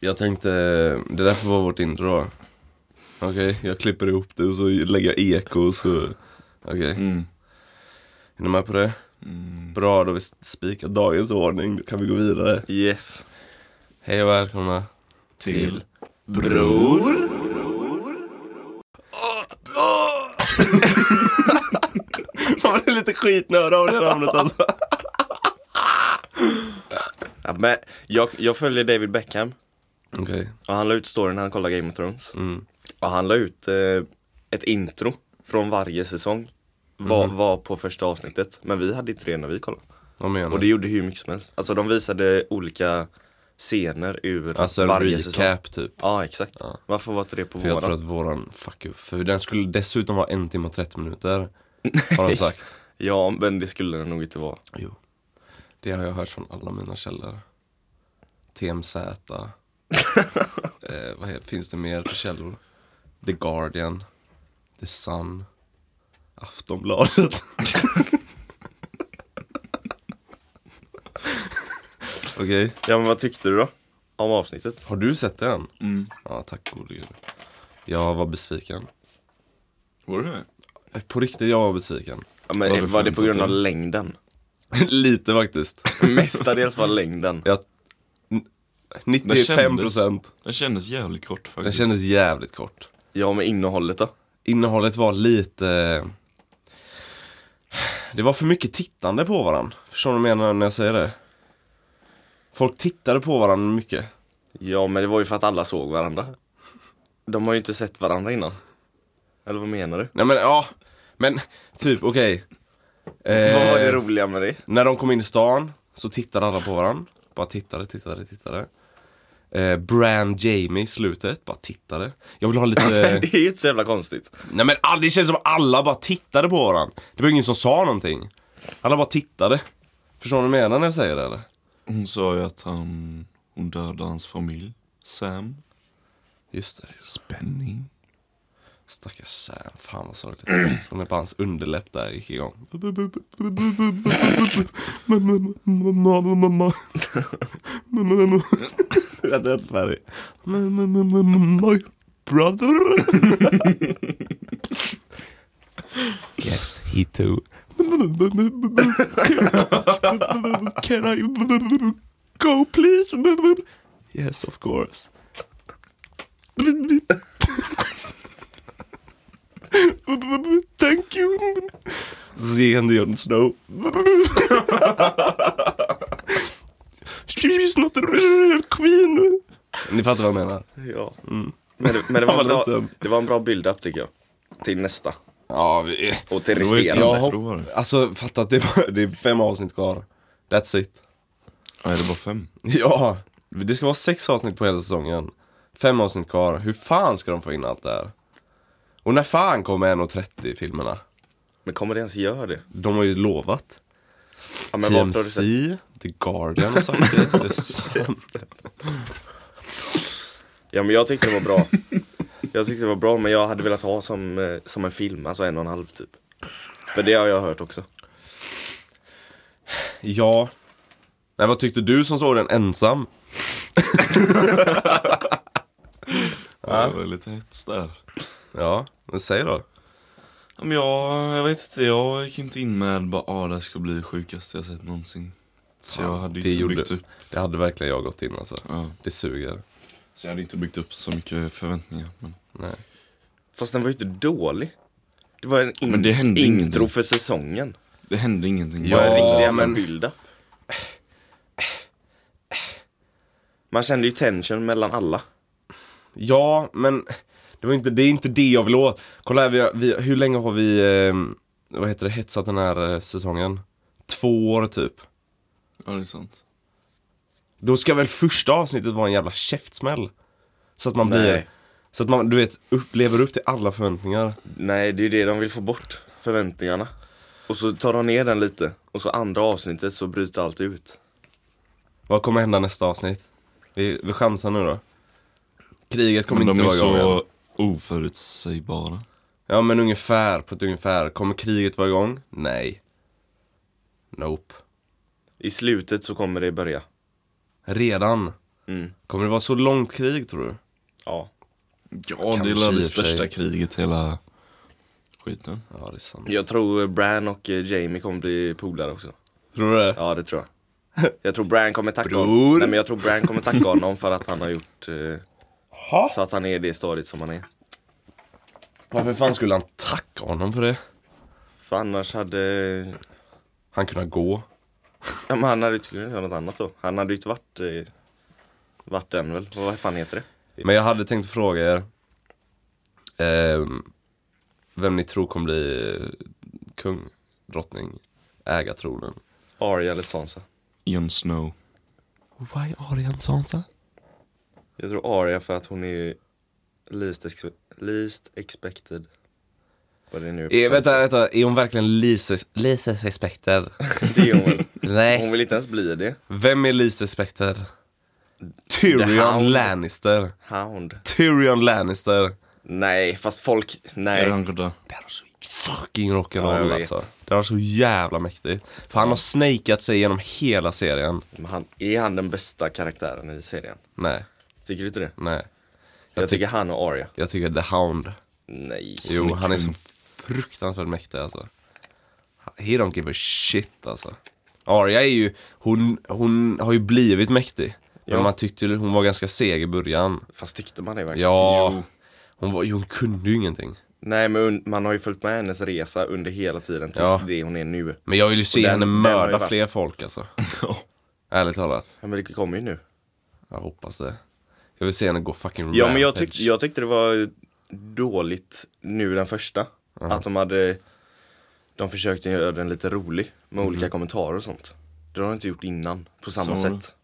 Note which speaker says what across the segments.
Speaker 1: Jag tänkte, det där får vara vårt intro då. Okej, jag klipper ihop det och så lägger jag eko och så Okej,
Speaker 2: Mm.
Speaker 1: är ni med på det? Bra, då har vi spikat dagens ordning, då kan vi gå vidare
Speaker 2: Yes.
Speaker 1: Hej och välkomna
Speaker 2: Till.
Speaker 1: Bror Man är lite skitnödig av det namnet alltså
Speaker 2: Ja, men jag, jag följer David Beckham
Speaker 1: Okej,
Speaker 2: och han la ut storyn när han kollade Game of Thrones.
Speaker 1: mm,
Speaker 2: Och han la ut eh, ett intro från varje säsong. Vad
Speaker 1: Mhm.
Speaker 2: var på första avsnittet. Men vi hade tre när vi kollade.
Speaker 1: vad menar
Speaker 2: Och det
Speaker 1: du?
Speaker 2: gjorde hur mycket som helst. Alltså de visade olika scener ur
Speaker 1: Alltså en
Speaker 2: varje säsong.
Speaker 1: recap typ
Speaker 2: Ja exakt.
Speaker 1: Ja.
Speaker 2: Varför var inte det på
Speaker 1: För jag tror
Speaker 2: våran?
Speaker 1: att våran, fuck upp, för den skulle dessutom vara en timme och 30 minuter Har de sagt
Speaker 2: Ja men det skulle det nog inte vara.
Speaker 1: Jo. Det har jag hört från alla mina källor. TMZ. eh, vad heter, finns det mer för källor? The Guardian. The Sun. Aftonbladet. Okej,
Speaker 2: Ja men vad tyckte du då? Om avsnittet?
Speaker 1: har du sett den?
Speaker 3: Mm.
Speaker 1: Ja, tack gode gud. Jag var besviken.
Speaker 3: Var det det?
Speaker 1: Eh, På riktigt, jag var besviken.
Speaker 2: Ja, men
Speaker 1: Vad
Speaker 2: var,
Speaker 1: vi
Speaker 2: det på
Speaker 1: förväntat
Speaker 2: grund av
Speaker 1: dig?
Speaker 2: längden?
Speaker 1: Lite faktiskt.
Speaker 2: Mestadels var längden.
Speaker 1: Jag, n- 95 procent.
Speaker 3: Den kändes jävligt kort
Speaker 1: Den
Speaker 3: faktiskt.
Speaker 1: kändes jävligt kort.
Speaker 2: Ja men innehållet då?
Speaker 1: innehållet var lite Det var för mycket tittande på varandra Förstår du vad jag menar när jag säger det? Folk tittade på varandra mycket
Speaker 2: Ja men det var ju för att alla såg varandra. De har ju inte sett varandra innan. Eller vad menar du?
Speaker 1: Nej men ja Men typ okej
Speaker 2: Vad var det
Speaker 1: eh,
Speaker 2: roliga med det?
Speaker 1: När de kom in i stan så tittade alla på varandra Bara tittade, tittade, tittade eh, Brand Jamie i slutet bara tittade Jag vill ha lite
Speaker 2: Det är ju inte så jävla konstigt.
Speaker 1: Nej men all- det känns som alla bara tittade på varandra Det var ingen som sa någonting Alla bara tittade Förstår du vad jag menar när jag säger det eller?
Speaker 3: Hon sa ju att han, hon dödade hans familj. Sam.
Speaker 1: Just det, just
Speaker 3: Spänning.
Speaker 1: det. stackars Sam. Fan vad sorgligt. Hon är på hans underläpp där, gick igång.
Speaker 2: Jag är helt färdig.
Speaker 1: My brother. Yes, he too. Can I go please? Yes, of course. Thank you. Seende on snow. She's not a real queen. Ni fattar vad jag menar.
Speaker 2: Ja.
Speaker 3: Mm.
Speaker 2: Men, det, men det, var
Speaker 1: Han
Speaker 2: en
Speaker 1: var
Speaker 2: bra,
Speaker 1: ledsen.
Speaker 2: det var en bra build-up tycker jag. Till nästa.
Speaker 1: Ja, vi...
Speaker 2: Och till
Speaker 3: Det var ju inte
Speaker 2: resterande.
Speaker 1: Jag
Speaker 3: jag
Speaker 1: hopp-
Speaker 3: tror det.
Speaker 1: Alltså fatta att det är, bara, det är fem avsnitt kvar. That's it.
Speaker 3: Nej det var fem.
Speaker 1: Ja, det ska vara sex avsnitt på hela säsongen. Fem avsnitt kvar. Hur fan ska de få in allt det här? Och när fan kommer 1.30 filmerna?
Speaker 2: Men kommer det ens göra det?
Speaker 1: De har ju lovat.
Speaker 2: Ja, men vart har
Speaker 1: TMC,
Speaker 2: du sett?
Speaker 1: The Guardian har sagt det. det är sant.
Speaker 2: Ja men jag tyckte det var bra. jag tyckte det var bra men jag hade velat ha som, eh, som en film, alltså en och en halv typ. För det har jag hört också.
Speaker 1: ja. Nej, vad tyckte du som såg den ensam?
Speaker 3: Ja. Det var lite hets där.
Speaker 1: Ja, men säg då.
Speaker 3: Ja, Men jag, jag vet inte, jag gick inte in med bara ah, det här ska bli det sjukaste jag sett någonsin. Så jag
Speaker 1: Fan,
Speaker 3: hade
Speaker 1: det
Speaker 3: inte
Speaker 1: gjorde-
Speaker 3: byggt upp.
Speaker 1: Det hade verkligen jag gått in alltså.
Speaker 3: Ja.
Speaker 1: Det suger.
Speaker 3: Så jag hade inte byggt upp så mycket förväntningar. Men,
Speaker 1: Nej.
Speaker 2: Fast den var ju inte dålig. Det var en in-
Speaker 3: Men det hände
Speaker 2: intro
Speaker 3: ingenting.
Speaker 2: för säsongen.
Speaker 3: det hände ingenting.
Speaker 2: Det var en
Speaker 1: Ja,
Speaker 2: riktig jävla
Speaker 1: men-
Speaker 2: build-up. Man kände ju tension mellan alla.
Speaker 1: Ja, men det, var inte, det är inte det jag vill åt. Kolla här, vi, har- vi, hur länge har vi eh, vad heter det, hetsat den här eh, säsongen? Två år typ.
Speaker 3: Ja det är sant.
Speaker 1: Då ska väl första avsnittet vara en jävla käftsmäll? Så att man
Speaker 2: Nej.
Speaker 1: blir, så att man du vet, upp, lever upp till alla förväntningar.
Speaker 2: Nej, det är ju det de vill få bort. Förväntningarna. Och så tar de ner den lite. Och så andra avsnittet så bryter allt ut.
Speaker 1: Vad kommer hända nästa avsnitt? Vi, vi chansar nu då. Kriget kommer
Speaker 3: Men de
Speaker 1: inte
Speaker 3: är
Speaker 1: vara igång än.
Speaker 3: så oförutsägbara.
Speaker 1: Ja men ungefär, på ett ungefär. Kommer kriget vara igång? Nej. Nope.
Speaker 2: I slutet så kommer det börja.
Speaker 1: Redan.
Speaker 2: Mm.
Speaker 1: Kommer det vara så långt krig tror du?
Speaker 2: Ja.
Speaker 3: Ja, det
Speaker 1: Kanske
Speaker 3: är väl
Speaker 1: i och
Speaker 3: det
Speaker 1: för sig.
Speaker 3: största kriget i hela skiten.
Speaker 1: Ja det är sant
Speaker 2: Jag tror Bran och eh, Jamie kommer bli polare också.
Speaker 1: Tror du det?
Speaker 2: Ja det tror jag. Jag tror Bran kommer tacka
Speaker 1: Bror.
Speaker 2: honom. Nej men jag tror Bran kommer tacka honom för att han har gjort eh,
Speaker 1: Ha?
Speaker 2: så att han är det stadiet som han är.
Speaker 1: Varför fan skulle han tacka honom för det?
Speaker 2: För annars hade,
Speaker 1: Han kunde gå
Speaker 2: ja, men han hade ju inte kunnat göra något annat då. Han hade ju inte varit, eh, varit den väl. Vad fan heter det?
Speaker 1: Men jag hade tänkt fråga er ehm, Vem ni tror kommer bli eh, kung, drottning, äga tronen
Speaker 2: Arya eller Sansa?
Speaker 3: Jon Snow.
Speaker 1: Why Arian Sansa?
Speaker 2: Jag tror Arya för att hon är least, ex- least expected. Vad det nu är på
Speaker 1: Är,
Speaker 2: svenska.
Speaker 1: Eh, vänta, vänta, är hon verkligen Lises, Lises Spekter?
Speaker 2: Det är hon väl. Hon
Speaker 1: Nej,
Speaker 2: vill inte ens bli det.
Speaker 1: vem är Lises Spekter?
Speaker 2: The Hound.
Speaker 1: Tyrion Lannister
Speaker 2: Hound.
Speaker 1: Tyrion Lannister
Speaker 2: Nej, fast folk,
Speaker 3: Är
Speaker 2: nej.
Speaker 3: han goda?
Speaker 1: Det här var så fucking
Speaker 2: Ja, jag
Speaker 1: rock'n'roll
Speaker 2: vet.
Speaker 1: alltså. Det var så jävla mäktigt. För han har snakat sig genom hela serien.
Speaker 2: Men han, är han den bästa karaktären i serien?
Speaker 1: Nej,
Speaker 2: Tycker du inte det?
Speaker 1: nej.
Speaker 2: Jag, tycker han och Arya.
Speaker 1: Jag tycker The Hound.
Speaker 2: Nej.
Speaker 1: Jo, han är så fruktansvärt mäktig alltså. He don't give a shit alltså. Arya är ju, hon, hon har ju blivit mäktig. Men
Speaker 2: Ja.
Speaker 1: man tyckte ju hon var ganska seg i början.
Speaker 2: Fast tyckte man det verkligen?
Speaker 1: Ja,
Speaker 3: Jo.
Speaker 1: hon, var, hon kunde ju ingenting.
Speaker 2: Nej men un- man har ju följt med hennes resa under hela tiden tills
Speaker 1: Ja.
Speaker 2: det hon är nu.
Speaker 1: Men jag vill ju se
Speaker 2: Och den-
Speaker 1: henne
Speaker 2: den har ju
Speaker 1: mörda
Speaker 2: varit-
Speaker 1: fler folk alltså.
Speaker 3: Ja.
Speaker 1: Ärligt talat,
Speaker 2: Ja, men det kommer ju nu.
Speaker 1: jag hoppas det. Jag vill se henne gå fucking
Speaker 2: Ja men jag,
Speaker 1: rampage.
Speaker 2: tyck- jag tyckte det var dåligt nu den första. Att de hade De försökte göra den lite rolig med
Speaker 1: Mhm.
Speaker 2: olika kommentarer och sånt. Det har de inte gjort innan på samma
Speaker 3: Som?
Speaker 2: sätt.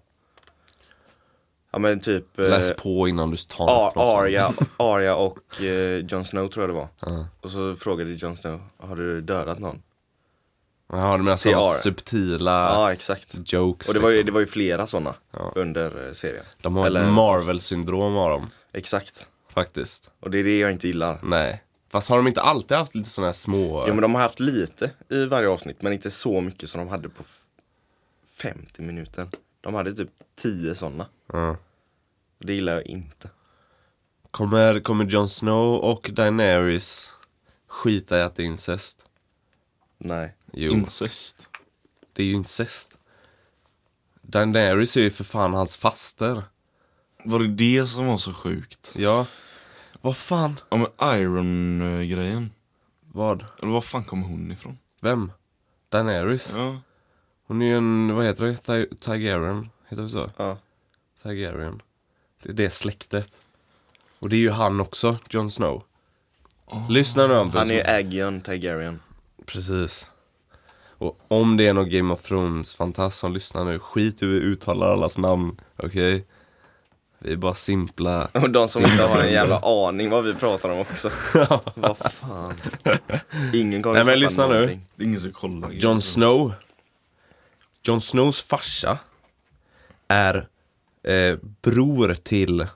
Speaker 2: Ja men typ eh,
Speaker 1: Läs på innan du tar
Speaker 2: Ar-
Speaker 1: något från-
Speaker 2: Arya, Arya och eh, Jon Snow tror jag det var. Och så frågade Jon Snow, har du dödat någon?
Speaker 1: Jaha, du menar
Speaker 2: Det är
Speaker 1: sådana
Speaker 2: Ar-
Speaker 1: subtila
Speaker 2: Ja exakt.
Speaker 1: jokes
Speaker 2: Och det var ju,
Speaker 1: liksom.
Speaker 2: det var ju flera sådana
Speaker 1: Ja.
Speaker 2: under eh, serien.
Speaker 1: De har
Speaker 2: Eller-
Speaker 1: ett Marvel-syndrom av dem,
Speaker 2: Exakt.
Speaker 1: faktiskt.
Speaker 2: Och det är det jag inte gillar.
Speaker 1: Nej. Fast har de inte alltid haft lite sådana här små...
Speaker 2: Jo men de har haft lite i varje avsnitt men inte så mycket som de hade på f- 50 minuter. De hade typ 10 sådana.
Speaker 1: Ja.
Speaker 2: Det gillar jag inte.
Speaker 1: kommer, kommer Jon Snow och Daenerys skita i att det är incest?
Speaker 2: Nej.
Speaker 1: Jo,
Speaker 3: Incest.
Speaker 1: det är ju incest. Daenerys är ju för fan hans faster.
Speaker 3: Var det det som var så sjukt?
Speaker 1: Ja. Vad fan?
Speaker 3: Ja men Iron-grejen.
Speaker 1: Vad?
Speaker 3: Eller var fan kommer hon ifrån?
Speaker 1: Vem? Daenerys?
Speaker 3: Ja.
Speaker 1: Hon är ju en, vad heter det? Ty- Targaryen? Heter det så?
Speaker 2: Ja.
Speaker 1: Targaryen. Det är det släktet. Och det är ju han också, Jon Snow. Lyssna nu Hampus.
Speaker 2: Han är ju Agion Targaryen.
Speaker 1: Precis. Och om det är någon Game of Thrones-fantast som lyssnar nu, skit i hur vi uttalar allas namn. Okej? Vi är bara simpla.
Speaker 2: Och de som inte har en jävla aning vad vi pratar om också. vad fan. Ingen kommer
Speaker 1: Nej, men
Speaker 2: fatta
Speaker 1: lyssna nu.
Speaker 2: någonting.
Speaker 3: Det är ingen som kollar.
Speaker 1: Jon Snow. Jon Snows farsa är eh, bror till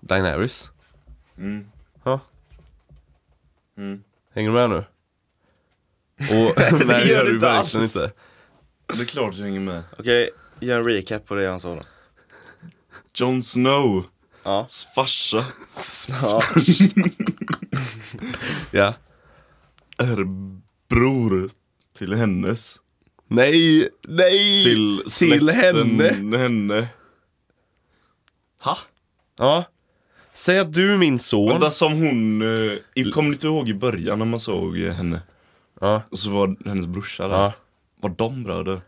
Speaker 1: Daenerys.
Speaker 3: Mm.
Speaker 1: Ja.
Speaker 3: Mm.
Speaker 1: Hänger du med nu? Och, det nej, det gör
Speaker 2: gör du
Speaker 1: du
Speaker 2: inte
Speaker 1: verkligen
Speaker 2: alls.
Speaker 1: inte.
Speaker 3: Det är klart jag hänger med.
Speaker 2: Okej, gör en recap på det han sa då.
Speaker 3: Jon Snows
Speaker 2: Ja.
Speaker 3: farsa
Speaker 2: ja.
Speaker 1: Ja.
Speaker 3: är bror till hennes.
Speaker 1: Nej, nej!
Speaker 3: Till,
Speaker 1: till
Speaker 3: släkten
Speaker 1: henne.
Speaker 3: henne. Ha?
Speaker 1: Ja. Säg att du är min son.
Speaker 3: Vänta som hon, eh, i- kommer ni inte ihåg i början när man såg eh, henne?
Speaker 1: Ja.
Speaker 3: Och så var hennes brorsa där.
Speaker 1: Ja.
Speaker 3: Var de bröder?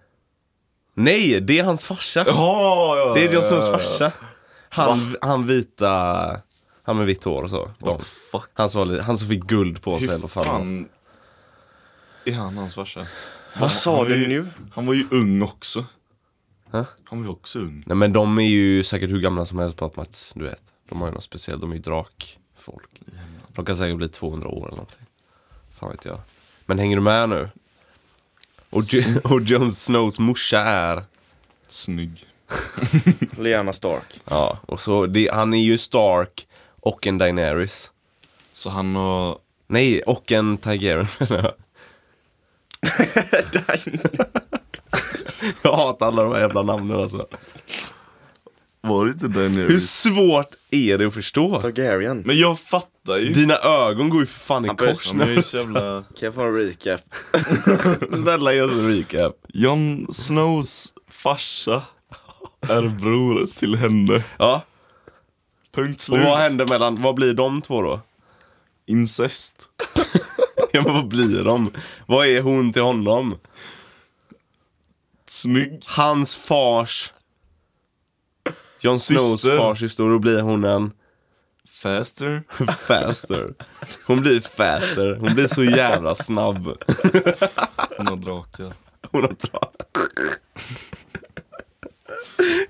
Speaker 1: Nej, det är hans farsa.
Speaker 3: Oh. Ja, ja,
Speaker 1: Det är Jon
Speaker 3: ja,
Speaker 1: Snows
Speaker 3: ja, ja.
Speaker 1: farsa. Han, han vita, han med vitt hår och så. De.
Speaker 3: What the fuck?
Speaker 1: Han som, var, li- han som fick guld på sig eller
Speaker 3: Hur
Speaker 1: vad fan.
Speaker 3: fan är han hans farsa?
Speaker 2: Vad sa
Speaker 3: Han var
Speaker 2: du
Speaker 3: ju-
Speaker 2: nu?
Speaker 3: Han var ju ung också.
Speaker 1: Hä?
Speaker 3: Han var ju också ung.
Speaker 1: Nej men de är ju säkert hur gamla som helst på att Mats, du vet. De har ju något speciellt, de är ju drakfolk. De kan säkert bli 200 år eller någonting. Fan vet jag. Men hänger du med nu? Och,
Speaker 2: Mm.
Speaker 1: Jo- och Jon Snows morsa är
Speaker 3: Snygg.
Speaker 2: Lyanna Stark.
Speaker 1: Ja, och så det, han är ju Stark och en Daenerys.
Speaker 3: Så han har...
Speaker 1: Nej, och en Targaryen menar jag. Jag hatar alla de här jävla namnen alltså.
Speaker 3: Var det inte
Speaker 1: Hur
Speaker 3: Daenerys?
Speaker 1: svårt är det att förstå?
Speaker 2: Targaryen.
Speaker 3: Men jag fattar ju.
Speaker 1: Dina ögon går ju för fan i
Speaker 2: Han börjar-
Speaker 1: kors
Speaker 3: Han är
Speaker 1: nu.
Speaker 3: ju så jävla...
Speaker 2: Kan jag få en recap?
Speaker 1: Snälla gör en recap.
Speaker 3: Jon Snows farsa är bror till henne.
Speaker 1: Ja,
Speaker 3: Punkt
Speaker 1: och
Speaker 3: slut.
Speaker 1: vad händer mellan, vad blir de två då?
Speaker 3: Incest.
Speaker 1: Ja men vad blir de? Vad är hon till honom?
Speaker 3: Snygg.
Speaker 1: Hans fars... Jon Snows
Speaker 3: Syster.
Speaker 1: fars historia, då blir hon en
Speaker 3: Faster.
Speaker 1: faster. Hon blir faster, hon blir så jävla snabb.
Speaker 3: Hon har drakar.
Speaker 1: Hon har bra.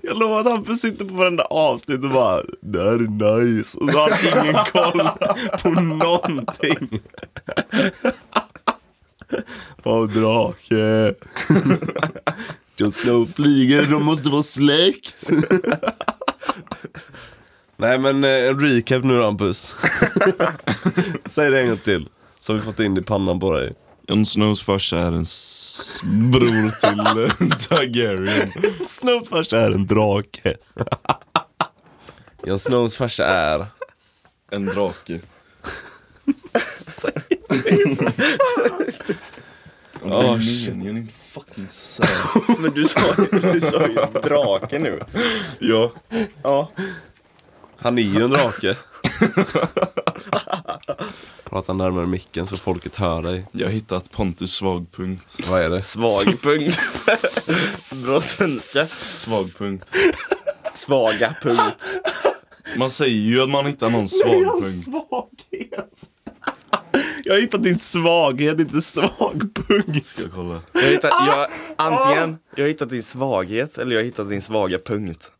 Speaker 1: Jag lovar att Hampus sitter på varenda avsnitt och bara Det här är nice och så har han ingen koll på någonting. Åh drake. Jon Snow flyger, de måste vara släkt. Nej men eh, en recap nu Hampus. Säg det en gång till. Så har vi fått in det i pannan på dig.
Speaker 3: Jon Snows farsa är en s- bror till eh, Targaryen.
Speaker 1: Snows farsa är en drake. Jon Snows farsa är...
Speaker 3: En drake.
Speaker 1: Åh,
Speaker 3: Oh,
Speaker 1: shit.
Speaker 3: shit. Jag är fucking sad.
Speaker 2: Men du sa, du sa ju drake nu.
Speaker 3: Ja.
Speaker 2: Ja.
Speaker 1: Han är ju en drake. Prata närmare micken så folket hör dig.
Speaker 3: Jag har hittat Pontus svagpunkt.
Speaker 1: Vad är det?
Speaker 2: Svag punkt. Bra svenska.
Speaker 3: Svagpunkt.
Speaker 2: Svaga punkt.
Speaker 3: Man säger ju att man hittar någon svagpunkt.
Speaker 1: svaghet. Jag har hittat din svaghet, inte svagpunkt.
Speaker 3: Ska jag kolla.
Speaker 2: Jag hittar, jag,
Speaker 3: Ah!
Speaker 2: antingen, jag har hittat din svaghet eller jag har hittat din svaga punkt.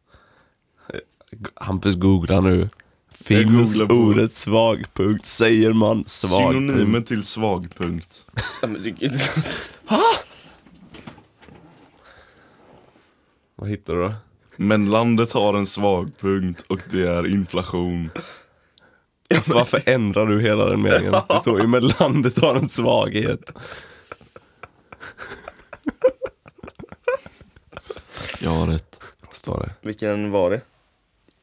Speaker 1: Hampus googlar nu. Finns
Speaker 3: googlar på-
Speaker 1: ordet svagpunkt? Säger man svagpunkt?
Speaker 3: Synonymer till svagpunkt.
Speaker 2: Ja, men du kan ju inte-
Speaker 1: Vad hittar du då?
Speaker 3: Men landet har en svagpunkt och det är inflation.
Speaker 1: Varför ändrar du hela den meningen? Det står ju men landet har en svaghet.
Speaker 3: Jag har rätt.
Speaker 1: Står det.
Speaker 2: Vilken var det?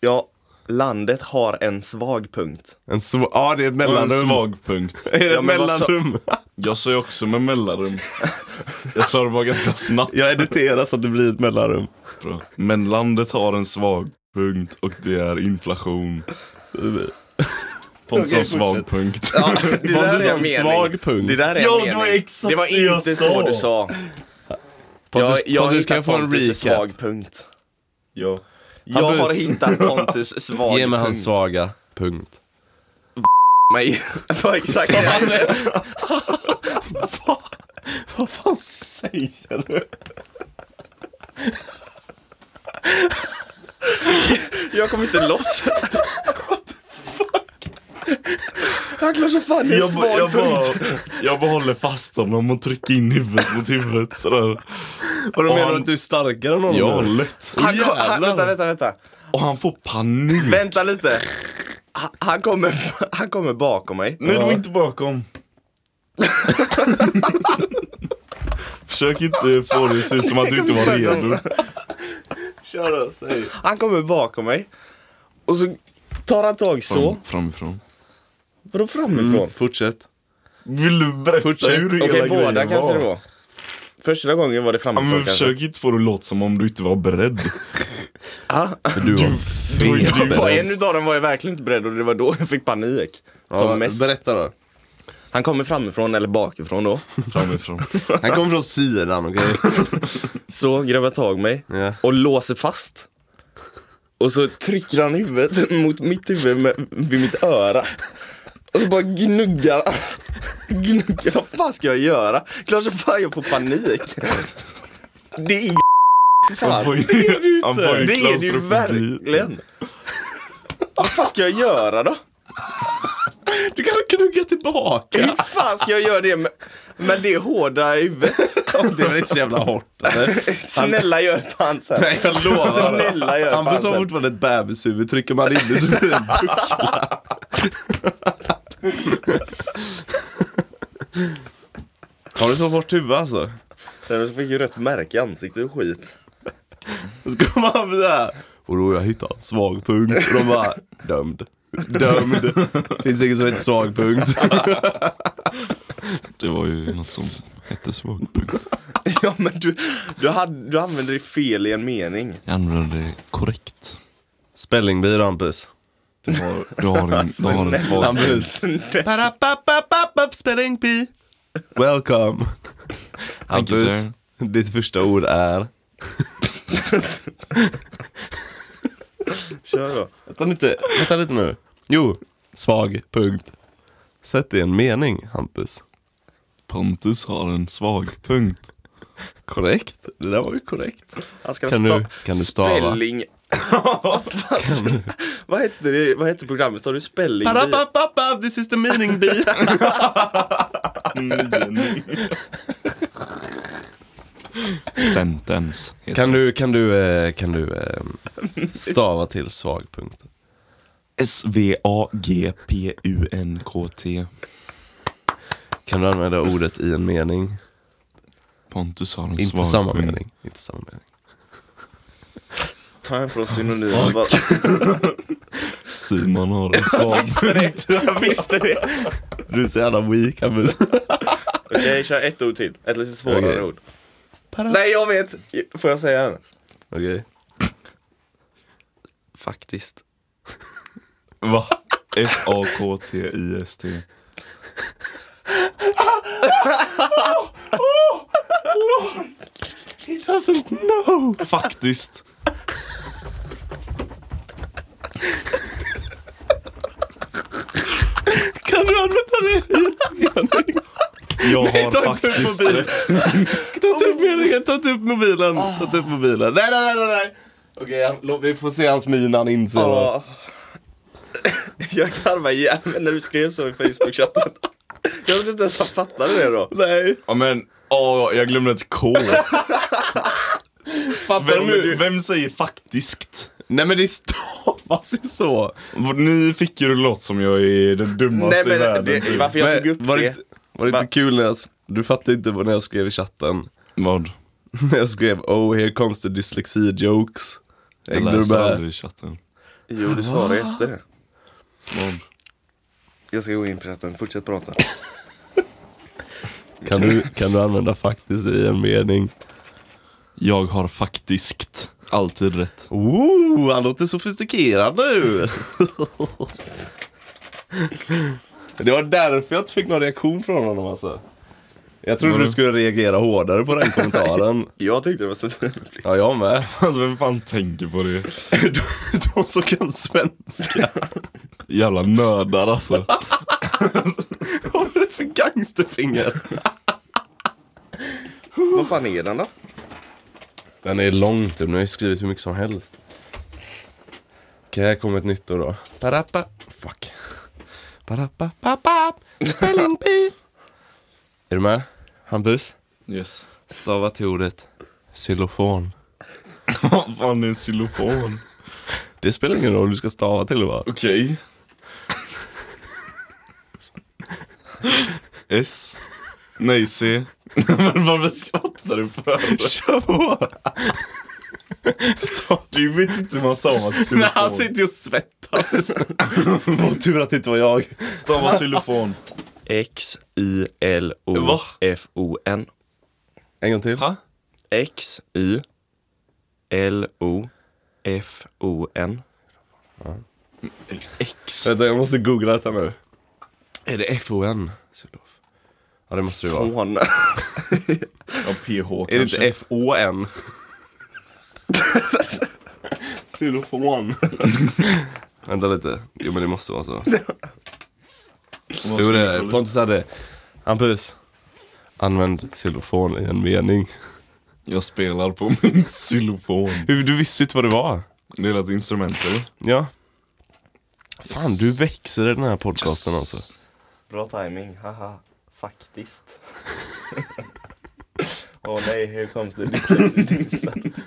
Speaker 2: Ja, landet har en svag punkt.
Speaker 1: En sv- ja, det är ett
Speaker 3: Och en
Speaker 1: mellanrum.
Speaker 3: svagpunkt.
Speaker 1: Är det
Speaker 2: Ja,
Speaker 1: ett
Speaker 2: men vad sa-
Speaker 1: mellanrum?
Speaker 3: Jag sa ju också med mellanrum. Jag sa det bara ganska snabbt.
Speaker 1: Jag editerar så att det blir ett mellanrum.
Speaker 3: Bra. Men landet har en svagpunkt och det är inflation. Pontus
Speaker 1: Okej,
Speaker 3: har
Speaker 1: fortsätt.
Speaker 3: svagpunkt.
Speaker 2: Ja, det
Speaker 1: Pontus har en svag punkt.
Speaker 2: Det där är en
Speaker 3: Ja, det
Speaker 2: mening.
Speaker 3: var exakt
Speaker 2: det var
Speaker 3: det jag
Speaker 2: inte
Speaker 3: sa.
Speaker 2: så du sa.
Speaker 1: Pontus,
Speaker 2: jag, jag
Speaker 1: Pontus kan
Speaker 2: har
Speaker 1: jag få
Speaker 2: hittat
Speaker 1: en
Speaker 2: Pontus
Speaker 1: recap?
Speaker 2: svag punkt.
Speaker 3: Ja.
Speaker 2: Jag
Speaker 1: Hampus.
Speaker 2: har hittat Pontus svag
Speaker 1: Ge mig
Speaker 2: punkt.
Speaker 1: hans svaga punkt.
Speaker 2: mig. Vad exakt
Speaker 1: Vad fan säger du?
Speaker 2: Jag kom inte loss. What the fuck? Han klarar sig fan i en
Speaker 3: Jag, ba-
Speaker 2: svag
Speaker 3: jag, bara,
Speaker 2: punkt.
Speaker 3: jag bara håller fast honom och trycker in huvudet mot huvudet sådär.
Speaker 1: Vad
Speaker 3: Och
Speaker 1: menar du
Speaker 3: han-
Speaker 1: att du är starkare än honom?
Speaker 3: Ja,
Speaker 1: nu?
Speaker 3: lätt.
Speaker 2: Han, kom,
Speaker 1: jävlar.
Speaker 2: han, vänta, vänta, vänta.
Speaker 3: Och han får panik.
Speaker 2: Vänta lite. Han, han, kommer, han kommer bakom mig.
Speaker 3: Nej, du
Speaker 1: Ja.
Speaker 3: var inte bakom. Försök inte få det att se ut som att du inte var redo.
Speaker 1: Kör då, säg.
Speaker 2: Han kommer bakom mig. Och så tar han tag så.
Speaker 1: Mm.
Speaker 3: Fram, framifrån.
Speaker 2: Vadå framifrån?
Speaker 1: Fortsätt.
Speaker 3: Vill du berätta
Speaker 1: Fortsätt.
Speaker 3: hur hela
Speaker 2: Okej, båda
Speaker 3: grejen
Speaker 2: kanske
Speaker 3: var?
Speaker 2: det var. Första gången var det
Speaker 3: Ja,
Speaker 1: Mm,
Speaker 2: framifrån
Speaker 3: men
Speaker 2: kanske.
Speaker 3: försök inte få det att låta som om du inte var beredd.
Speaker 2: Ah,
Speaker 1: Du var
Speaker 3: Det var ju
Speaker 1: fet
Speaker 3: du
Speaker 1: bäst.
Speaker 2: på
Speaker 3: beredd.
Speaker 2: en utav dem var jag verkligen inte beredd och det var då jag fick panik. Som
Speaker 1: Ja,
Speaker 2: mest.
Speaker 1: Berätta då.
Speaker 2: Han kommer framifrån eller bakifrån då.
Speaker 3: Framifrån.
Speaker 1: Han kommer från sidan, okej?
Speaker 2: Så grabbar tag mig
Speaker 1: Ja.
Speaker 2: och låser fast. Och så trycker han huvudet mot mitt huvud med, vid mitt öra. Och så bara gnuggar han. Gnuggar, vad fan ska jag göra? Klart som fan jag får panik. Det är Fy
Speaker 3: Han
Speaker 2: fan.
Speaker 3: får ju, han får
Speaker 2: Det
Speaker 3: ju
Speaker 2: är det ju
Speaker 3: klaustrofobi.
Speaker 2: verkligen. Vad fan ska jag göra då?
Speaker 1: Du kan knugga tillbaka.
Speaker 2: Hur fan ska jag göra det med, med det hårda i huvudet?
Speaker 1: Det är väl inte så jävla hårt? eller?
Speaker 2: Snälla gör pansar.
Speaker 1: Nej, jag lovar.
Speaker 2: Snälla gör
Speaker 1: Hampus har
Speaker 2: pansar.
Speaker 1: fortfarande ett bebishuvud, trycker man in det så blir det en buckla. Har du så hårt huvud alltså?
Speaker 2: Sen så fick jag ju rött märke i ansiktet och skit.
Speaker 1: Ska man såhär, Och då har jag hittat en svag punkt och de bara dömd. Dömd. Finns inget som heter svag punkt.
Speaker 3: Det var ju något som hette svagpunkt.
Speaker 2: Ja men du, du, hade, du använde det fel i en mening.
Speaker 3: Jag använde det korrekt.
Speaker 1: Spellingbyrå Hampus.
Speaker 3: Du har, du har en, du har en svag punkt.
Speaker 1: Hampus. Parapapapapap spellingbyrå. Welcome.
Speaker 3: Thank you,
Speaker 1: Hampus,
Speaker 3: sir.
Speaker 1: ditt första ord är.
Speaker 2: Kör då.
Speaker 1: Vänta lite, vänta lite nu. Jo, svag punkt. Sätt det i en mening Hampus.
Speaker 3: Pontus har en svag punkt.
Speaker 1: Korrekt. Det där var ju korrekt.
Speaker 2: Han ska
Speaker 1: Kan
Speaker 2: sta-
Speaker 1: du- kan du stava?
Speaker 2: Spelling. Fast, vad hette det, vad hette programmet? Har du spelling?
Speaker 1: Parapapapap, this is the meaning bee.
Speaker 3: Sentence. heter
Speaker 1: Kan du, kan du, eh, kan du eh, stava till svagpunkten?
Speaker 3: S-V-A-G-P-U-N-K-T
Speaker 1: Kan du använda ordet i en mening?
Speaker 3: Pontus har en
Speaker 1: Inte
Speaker 3: svag
Speaker 1: samma
Speaker 3: punkt.
Speaker 1: mening. Inte samma mening.
Speaker 2: Ta en från synonymen bara.
Speaker 3: Simon har en svag punkt.
Speaker 2: Jag visste det.
Speaker 1: Du är så jävla weak Hampus.
Speaker 2: Okej, kör ett ord till. Ett lite svårare
Speaker 1: Okej.
Speaker 2: ord.
Speaker 1: Para-
Speaker 2: Nej, jag vet! Får jag säga den?
Speaker 1: Okej. Faktiskt.
Speaker 3: Va? F-A-K-T-I-S-T.
Speaker 1: He doesn't know.
Speaker 3: Faktiskt.
Speaker 1: Kan du använda det i en mening?
Speaker 3: Jag har
Speaker 1: ta
Speaker 3: faktiskt
Speaker 1: inte
Speaker 3: rätt.
Speaker 1: Ta inte upp meningen, ta inte upp mobilen. Ta inte upp mobilen. Nej, nej, nej, nej, nej. Okej, han- låt- vi får se hans min när han inser. det.
Speaker 2: Ja. Jag karvar igen när du skrev så i Facebook-chatten. Jag trodde inte ens han fattade det då.
Speaker 1: Nej.
Speaker 3: Ja men, åh, jag glömde ett K.
Speaker 1: Fattar du
Speaker 3: Vem,
Speaker 1: nu?
Speaker 3: vem säger faktiskt?
Speaker 1: Nej men det stavas ju så.
Speaker 3: Ni fick ju det låt som jag är den dummaste
Speaker 2: Nej, men
Speaker 3: i världen.
Speaker 2: det-
Speaker 3: typ.
Speaker 2: varför- För jag
Speaker 1: Men
Speaker 2: tog upp
Speaker 1: var
Speaker 2: det.
Speaker 1: Inte, var det inte
Speaker 2: Va?
Speaker 1: kul när jag, s- du fattade inte vad när jag skrev i chatten.
Speaker 3: Vad?
Speaker 1: När jag skrev oh here comes the dyslexi jokes.
Speaker 3: Jag
Speaker 1: Hängde du
Speaker 3: läste
Speaker 1: med?
Speaker 3: aldrig i chatten.
Speaker 2: Jo, du svarade ju efter det.
Speaker 3: Vad?
Speaker 2: Jag ska gå in på chatten, fortsätt prata.
Speaker 1: Kan du, kan du använda faktiskt i en mening?
Speaker 3: Jag har faktiskt alltid rätt.
Speaker 1: Ooh, han låter sofistikerad nu. det var därför jag inte fick någon reaktion från honom alltså. Jag trodde
Speaker 3: Vadå?
Speaker 1: du skulle reagera hårdare på den kommentaren.
Speaker 2: Jag tyckte det var så trevligt.
Speaker 1: Ja, jag med.
Speaker 3: Alltså vem fan tänker på det?
Speaker 1: De, de som kan svenska.
Speaker 3: Jävla nördar alltså.
Speaker 1: Vad är det för gangsterfinger?
Speaker 2: Vad fan är den då?
Speaker 1: Den är lång typ, nu har jag skrivit hur mycket som helst. Okej, här kommer ett nytt ord då. Parappa. Fuck. Parappa, pappa, spelling bee. Är du med? Hampus?
Speaker 3: Yes.
Speaker 1: Stava till ordet xylofon.
Speaker 3: Vad fan är en xylofon?
Speaker 1: Det spelar ingen roll, du ska stava till det va?
Speaker 3: Okej. S. Nej, C. Men vad skrattar du för?
Speaker 1: Kör på! Stava.
Speaker 3: Du vet inte hur man stavar xylofon.
Speaker 1: Nej, han sitter ju och svettas just nu. Vad tur att det inte var jag.
Speaker 3: Stava xylofon.
Speaker 2: X, Y, L, O,
Speaker 3: Va?
Speaker 2: F, O, N.
Speaker 1: En gång till.
Speaker 3: Ha?
Speaker 2: X, Y, L, O, F, O, N.
Speaker 3: X.
Speaker 1: Vänta, jag måste googla detta nu. Är det FON? Sydoff? Ja, det måste det vara.
Speaker 2: Fån.
Speaker 3: Ja, PH
Speaker 1: Är det
Speaker 3: kanske.
Speaker 1: inte FON? Xylofon. Vänta lite. Jo, men det måste vara så.
Speaker 3: Vad
Speaker 1: Jo,
Speaker 3: ska
Speaker 1: det
Speaker 3: vi
Speaker 1: är det.
Speaker 3: kolla?
Speaker 1: Pontus hade... Hampus. Använd xylofon i en mening.
Speaker 3: Jag spelar på min xylofon.
Speaker 1: Du, du visste ju inte vad det var.
Speaker 3: Det är ett instrument eller?
Speaker 1: Ja. Fan, du växer i den här podcasten alltså.
Speaker 2: Bra timing, haha. Faktiskt. Åh nej, hur kom det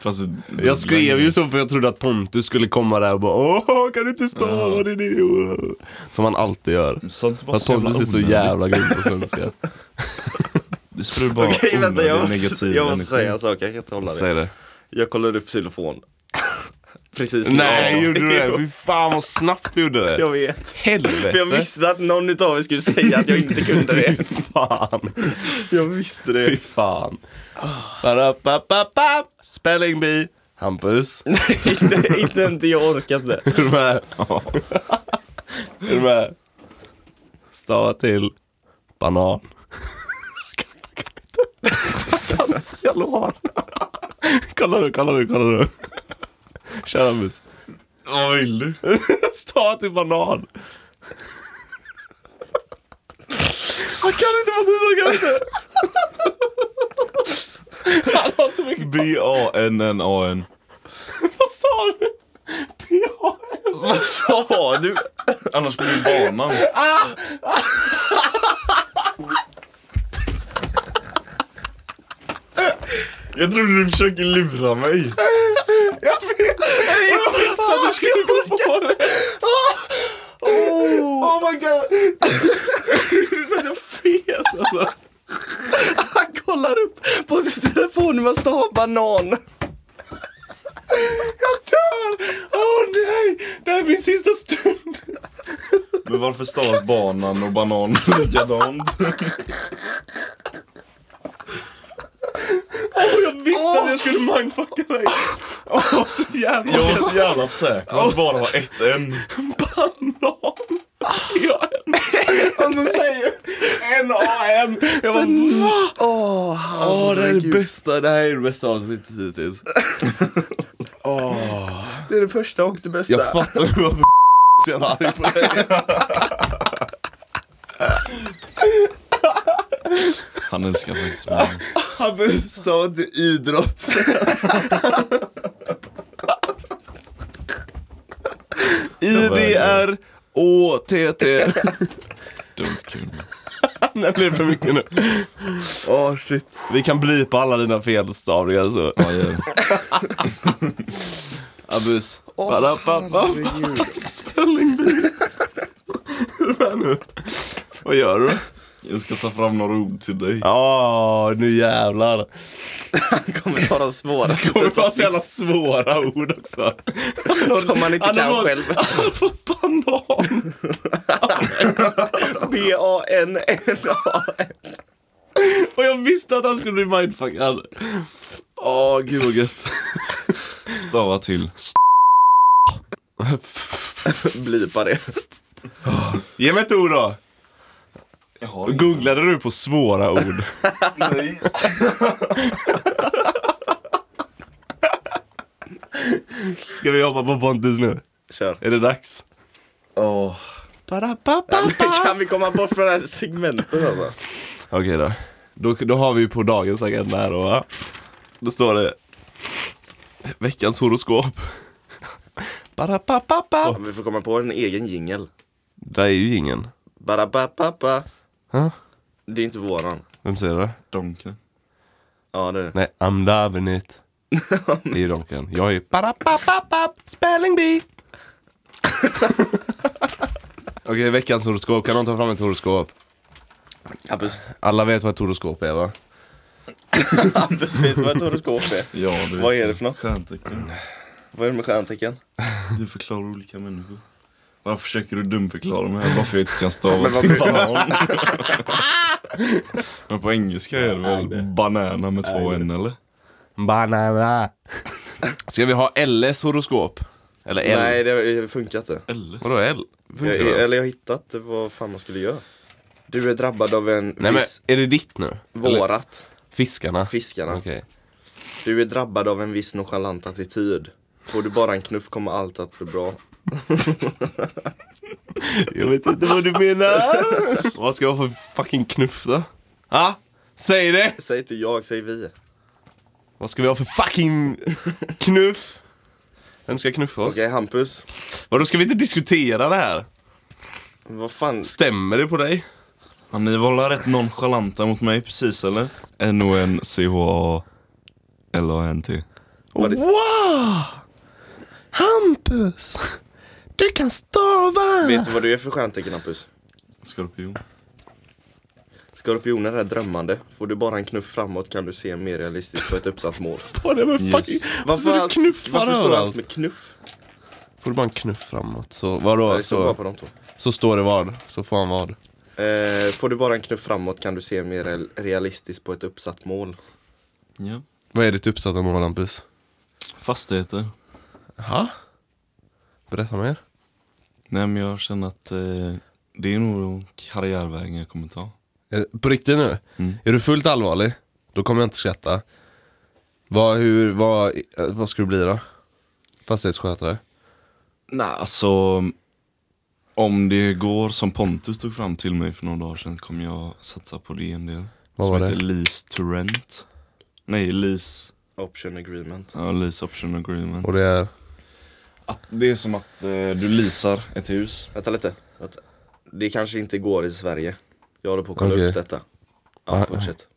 Speaker 3: Fast det-
Speaker 1: Jag skrev
Speaker 2: Mm.
Speaker 1: ju så för jag trodde att Pontus skulle komma där och bara Åh, kan du inte stava det nu? Som han alltid gör.
Speaker 3: Sånt
Speaker 1: För
Speaker 3: är bara
Speaker 1: att Pontus är så
Speaker 3: onödigt.
Speaker 1: jävla grym på svenska.
Speaker 3: Det sprider bara
Speaker 2: Okej vänta,
Speaker 3: onödig
Speaker 2: jag
Speaker 3: negativ
Speaker 2: måste, jag måste
Speaker 3: energi.
Speaker 2: säga en sak, jag kan inte hålla det.
Speaker 1: Säg det.
Speaker 2: Jag kollar upp xylofon. precis
Speaker 1: Nej,
Speaker 2: Ja.
Speaker 1: gjorde du det? Fy fan vad snabbt du gjorde det.
Speaker 2: Jag vet. För jag
Speaker 1: Helvete.
Speaker 2: visste att någon utav er skulle säga att jag inte kunde det.
Speaker 1: Fan.
Speaker 2: Jag visste
Speaker 1: Fy
Speaker 2: det.
Speaker 1: fan. Ba-da-ba-ba-ba. Spelling bee. Hampus.
Speaker 2: inte, inte, inte jag orkat det.
Speaker 1: Är du med? Är du med? Stava till banan. Jag lovar. Kolla nu, kolla nu, kolla nu. Kör Hampus.
Speaker 3: Vad vill du?
Speaker 1: Stava till banan. Han kan inte vad du såg inte. Han har så mycket...
Speaker 3: B-A-N-N-A-N.
Speaker 1: Vad sa du? PA.
Speaker 2: Vad sa du?
Speaker 3: Annars blir det banan. Jag trodde du försöker lura mig.
Speaker 2: Ah,
Speaker 1: Jag skulle gå på det. Oh. oh my god.
Speaker 2: Fes alltså. Han kollar upp på sin telefon hur man stavar banan.
Speaker 1: Jag dör! Åh oh, nej! Det här är min sista stund!
Speaker 3: Men varför stavas banan och banan likadant?
Speaker 1: Och jag visste att jag skulle mindfucka dig! Åh, så jävla...
Speaker 3: Jag var så jävla säker på att det bara var ett N.
Speaker 1: Banan! Ja, en. Och så säger N-A-N. Jag bara va?
Speaker 2: Åh,
Speaker 1: Åh, det här är det
Speaker 2: herregud.
Speaker 1: bästa. Det här är det bästa avsnittet hittills.
Speaker 2: Det är det första och det bästa.
Speaker 1: Jag fattar inte varför så jävla arg på dig.
Speaker 3: Han älskar faktiskt mig.
Speaker 1: Han består inte idrott. I-D-R-Å-T-T.
Speaker 3: Dumt kul.
Speaker 1: Det blir för mycket nu. Åh shit. Vi kan blipa alla dina felstavningar alltså. så.
Speaker 3: Ja, gör det.
Speaker 1: Abus.
Speaker 2: Åh,
Speaker 1: Badapapap.
Speaker 2: herregud.
Speaker 1: Spellingbee. Är du med nu? Vad gör du?
Speaker 3: Jag ska ta fram några ord till dig.
Speaker 1: Ja, nu jävlar.
Speaker 2: Han kommer ta de svåraste
Speaker 1: Kommer
Speaker 2: som,
Speaker 1: vara så jävla svåra ord också.
Speaker 2: som man inte
Speaker 1: Han har
Speaker 2: kan
Speaker 1: fått-
Speaker 2: själv.
Speaker 1: Han har fått banan.
Speaker 2: B-A-N-N-A-N.
Speaker 1: Och jag visste att han skulle bli mindfuckad. Åh, gud vad gött.
Speaker 3: Stava till.
Speaker 2: Blipa det.
Speaker 1: Ge mig ett ord då.
Speaker 3: Jag har
Speaker 1: Googlade du på svåra ord?
Speaker 3: Nej.
Speaker 1: Ska vi hoppa på Pontus nu?
Speaker 2: Kör.
Speaker 1: Är det dags?
Speaker 3: Åh.
Speaker 2: Kan vi komma bort från det här segmentet alltså?
Speaker 1: Okej då. då. Då har vi på dagens agenda här då va? Då står det Veckans horoskop. Ba-da-ba-ba-ba.
Speaker 2: Om vi får komma på en egen jingel.
Speaker 1: Där är ju ingen.
Speaker 2: Ba-da-ba-ba-ba.
Speaker 1: Huh?
Speaker 2: Det är inte våran.
Speaker 1: Vem säger det?
Speaker 3: Donken.
Speaker 2: Ja, det är det.
Speaker 1: Nej, I'm loving it. Det är ju Donken. Jag är ba-da-ba-ba-ba, spelling bee. Okej, veckans horoskop. Kan någon ta fram ett horoskop?
Speaker 2: Hampus.
Speaker 1: Alla vet vad ett horoskop är va?
Speaker 2: Hampus vet du vad ett horoskop är?
Speaker 3: Ja, du vet
Speaker 2: Vad är det för något?
Speaker 3: Stjärntecken.
Speaker 2: Vad är det med stjärntecken?
Speaker 3: Du förklarar olika människor. Varför försöker du dumförklara mig? Varför jag inte kan stava
Speaker 2: Men vad
Speaker 3: till
Speaker 2: blir-
Speaker 3: banan? Men på engelska är det väl banana med två n eller?
Speaker 1: Banana. Ska vi ha LS horoskop? Eller L?
Speaker 2: Nej, det funkar inte.
Speaker 3: Eller?
Speaker 1: Vadå L? Funkar
Speaker 2: Jag,
Speaker 1: det?
Speaker 2: eller jag har hittat vad fan man skulle göra. Du är drabbad av en
Speaker 1: Nej men
Speaker 2: viss
Speaker 1: är det ditt nu? Eller
Speaker 2: vårat,
Speaker 1: fiskarna?
Speaker 2: fiskarna.
Speaker 1: Okej.
Speaker 2: Du är drabbad av en viss nonchalant attityd. Får du bara en knuff kommer allt att bli bra.
Speaker 1: Jag vet inte vad du menar. vad ska jag ha för fucking knuff då? Ha? Säg det!
Speaker 2: Säg inte jag, säg vi.
Speaker 1: Vad ska vi ha för fucking knuff? Vem ska knuffa oss?
Speaker 2: Okej Hampus,
Speaker 1: Vadå ska vi inte diskutera det här?
Speaker 2: vad fan?
Speaker 1: Stämmer det på dig?
Speaker 3: Ja, ni var väl rätt nonchalanta mot mig precis eller? N-O-N-C-H-A-L-A-N-T
Speaker 2: Var det-
Speaker 1: Wow! Hampus! Du kan stava!
Speaker 2: Vet du vad du är för stjärntecken Hampus?
Speaker 3: Skorpion
Speaker 2: Skorpioner är drömmande. Får du bara en knuff framåt kan du se mer realistiskt på ett uppsatt mål.
Speaker 1: På det men fucking...
Speaker 3: Yes.
Speaker 1: Varför Alltså, du
Speaker 2: allt-
Speaker 1: knuffar
Speaker 2: varför står
Speaker 1: överallt?
Speaker 2: allt med knuff?
Speaker 1: Får du bara en knuff framåt så...
Speaker 2: Ja,
Speaker 1: Vadå?
Speaker 2: det står bara
Speaker 1: Så,
Speaker 2: på de två.
Speaker 1: så står det vad? Så får han vad?
Speaker 2: Eh, får du bara en knuff framåt kan du se mer real- realistiskt på ett uppsatt mål.
Speaker 3: Ja.
Speaker 1: Vad är ditt uppsatta mål Hampus?
Speaker 3: Fastigheter.
Speaker 1: Jaha? Berätta mer.
Speaker 3: Nej men jag känner att eh, det är nog karriärvägen jag kommer ta.
Speaker 1: Är, på riktigt nu?
Speaker 3: Mm.
Speaker 1: Är du fullt allvarlig? Då kommer jag inte skratta. Vad, hur, vad, eh, vad ska du bli då? Fastighetsskötare?
Speaker 3: Nej alltså, om det går som Pontus tog fram till mig för några dagar sedan kommer jag satsa på det en del.
Speaker 1: Vad
Speaker 3: som
Speaker 1: var det?
Speaker 3: heter lease to rent. Nej, lease,
Speaker 2: Option agreement.
Speaker 3: ja, lease option agreement.
Speaker 1: Och det är...
Speaker 3: Att det är som att eh, du leasar ett hus.
Speaker 2: Vänta lite. Vänta. Det kanske inte går i Sverige. Jag håller på att kolla
Speaker 1: Okej.
Speaker 2: upp detta.
Speaker 1: Ah,
Speaker 2: Ja, fortsätt.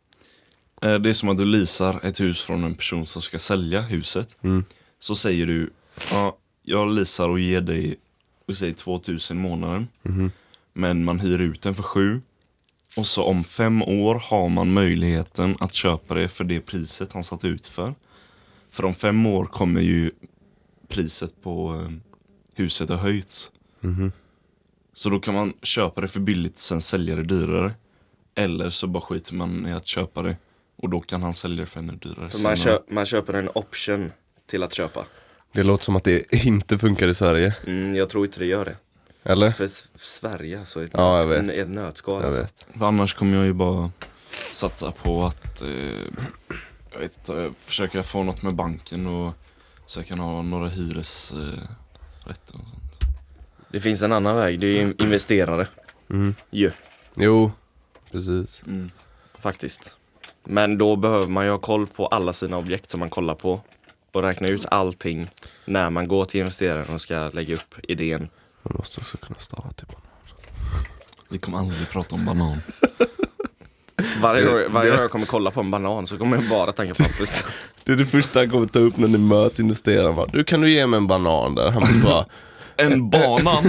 Speaker 3: Eh, Det är som att du leasar ett hus från en person som ska sälja huset.
Speaker 1: Mm.
Speaker 3: Så säger du, ja, jag leasar och ger dig, vi säger 2000 i månaden.
Speaker 1: Mhm.
Speaker 3: Men man hyr ut den för sju. Och så om fem år har man möjligheten att köpa det för det priset han satt ut för. För om fem år kommer ju priset på eh, huset ha höjts.
Speaker 1: Mhm.
Speaker 3: Så då kan man köpa det för billigt och sen sälja det dyrare. Eller så bara skiter man i att köpa det och då kan han sälja det för ännu dyrare
Speaker 2: För man,
Speaker 3: senare.
Speaker 2: kö- man köper en option till att köpa.
Speaker 1: Det låter som att det inte funkar i Sverige.
Speaker 2: Mm, jag tror inte det gör det.
Speaker 1: Eller?
Speaker 2: För s- Sverige alltså, är ett,
Speaker 1: Ja, jag
Speaker 2: nötsk-
Speaker 1: vet.
Speaker 2: är ett nötskal
Speaker 1: Jag
Speaker 2: alltså.
Speaker 1: vet.
Speaker 3: För annars kommer jag ju bara satsa på att eh, jag vet inte, eh, försöka få något med banken och så jag kan ha några hyresrätter eh, rätter och sånt.
Speaker 2: Det finns en annan väg, det är in- investerare
Speaker 1: Mm.
Speaker 2: ju,
Speaker 1: Jo, precis.
Speaker 2: faktiskt. Men då behöver man ju ha koll på alla sina objekt som man kollar på och räkna ut allting när man går till investeraren och ska lägga upp idén.
Speaker 1: Man måste också kunna stava till banan.
Speaker 3: Vi kommer aldrig prata om banan.
Speaker 2: Varje,
Speaker 1: Det-
Speaker 2: gång- varje gång jag kommer kolla på en banan så kommer jag bara tänka på Hampus.
Speaker 1: Det är det första han kommer ta upp när ni möts, investeraren bara Du kan du ge mig en banan där? Han bara
Speaker 3: En banan!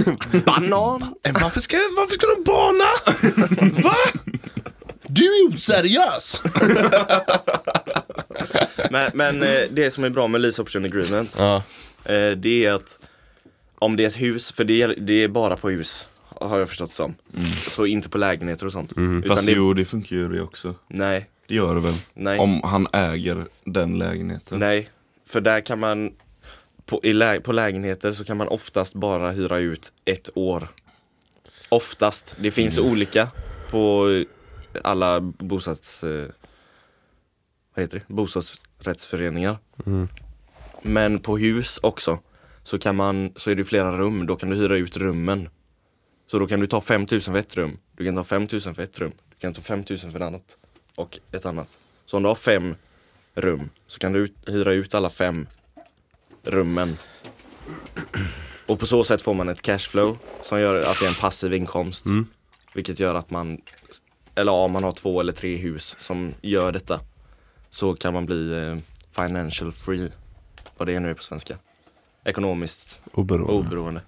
Speaker 2: Banan!
Speaker 1: "Eh, varför ska, varför ska de bana? Va? Du är oseriös!
Speaker 2: Men, men eh, det som är bra med lease option agreement
Speaker 1: Ja,
Speaker 2: Eh, det är att om det är ett hus, för det, gäller- det är bara på hus har jag förstått som. Så inte på lägenheter och sånt. Utan
Speaker 3: Mm. Fast
Speaker 2: det,
Speaker 3: jo, det funkar ju det också.
Speaker 2: Nej,
Speaker 3: Det gör det väl?
Speaker 2: nej,
Speaker 3: Om han äger den lägenheten.
Speaker 2: nej. För där kan man, på, i lä, på lägenheter så kan man oftast bara hyra ut ett år. Oftast. Det finns olika på eh, alla bostads... Eh, vad heter det? Bostadsrättsföreningar. Men på hus också så, kan man, så är det flera rum, då kan du hyra ut rummen. Så då kan du ta 5000 för ett rum, du kan ta 5000 för ett rum, du kan ta 5000 för ett annat och ett annat. Så om du har fem rum så kan du ut, hyra ut alla fem rummen. Och på så sätt får man ett cashflow som gör att det är en passiv inkomst.
Speaker 1: Mm.
Speaker 2: Vilket gör att man, eller ja, om man har två eller tre hus som gör detta så kan man bli eh, financial free. Vad det nu är på svenska. Ekonomiskt
Speaker 1: oberoende.
Speaker 2: oberoende.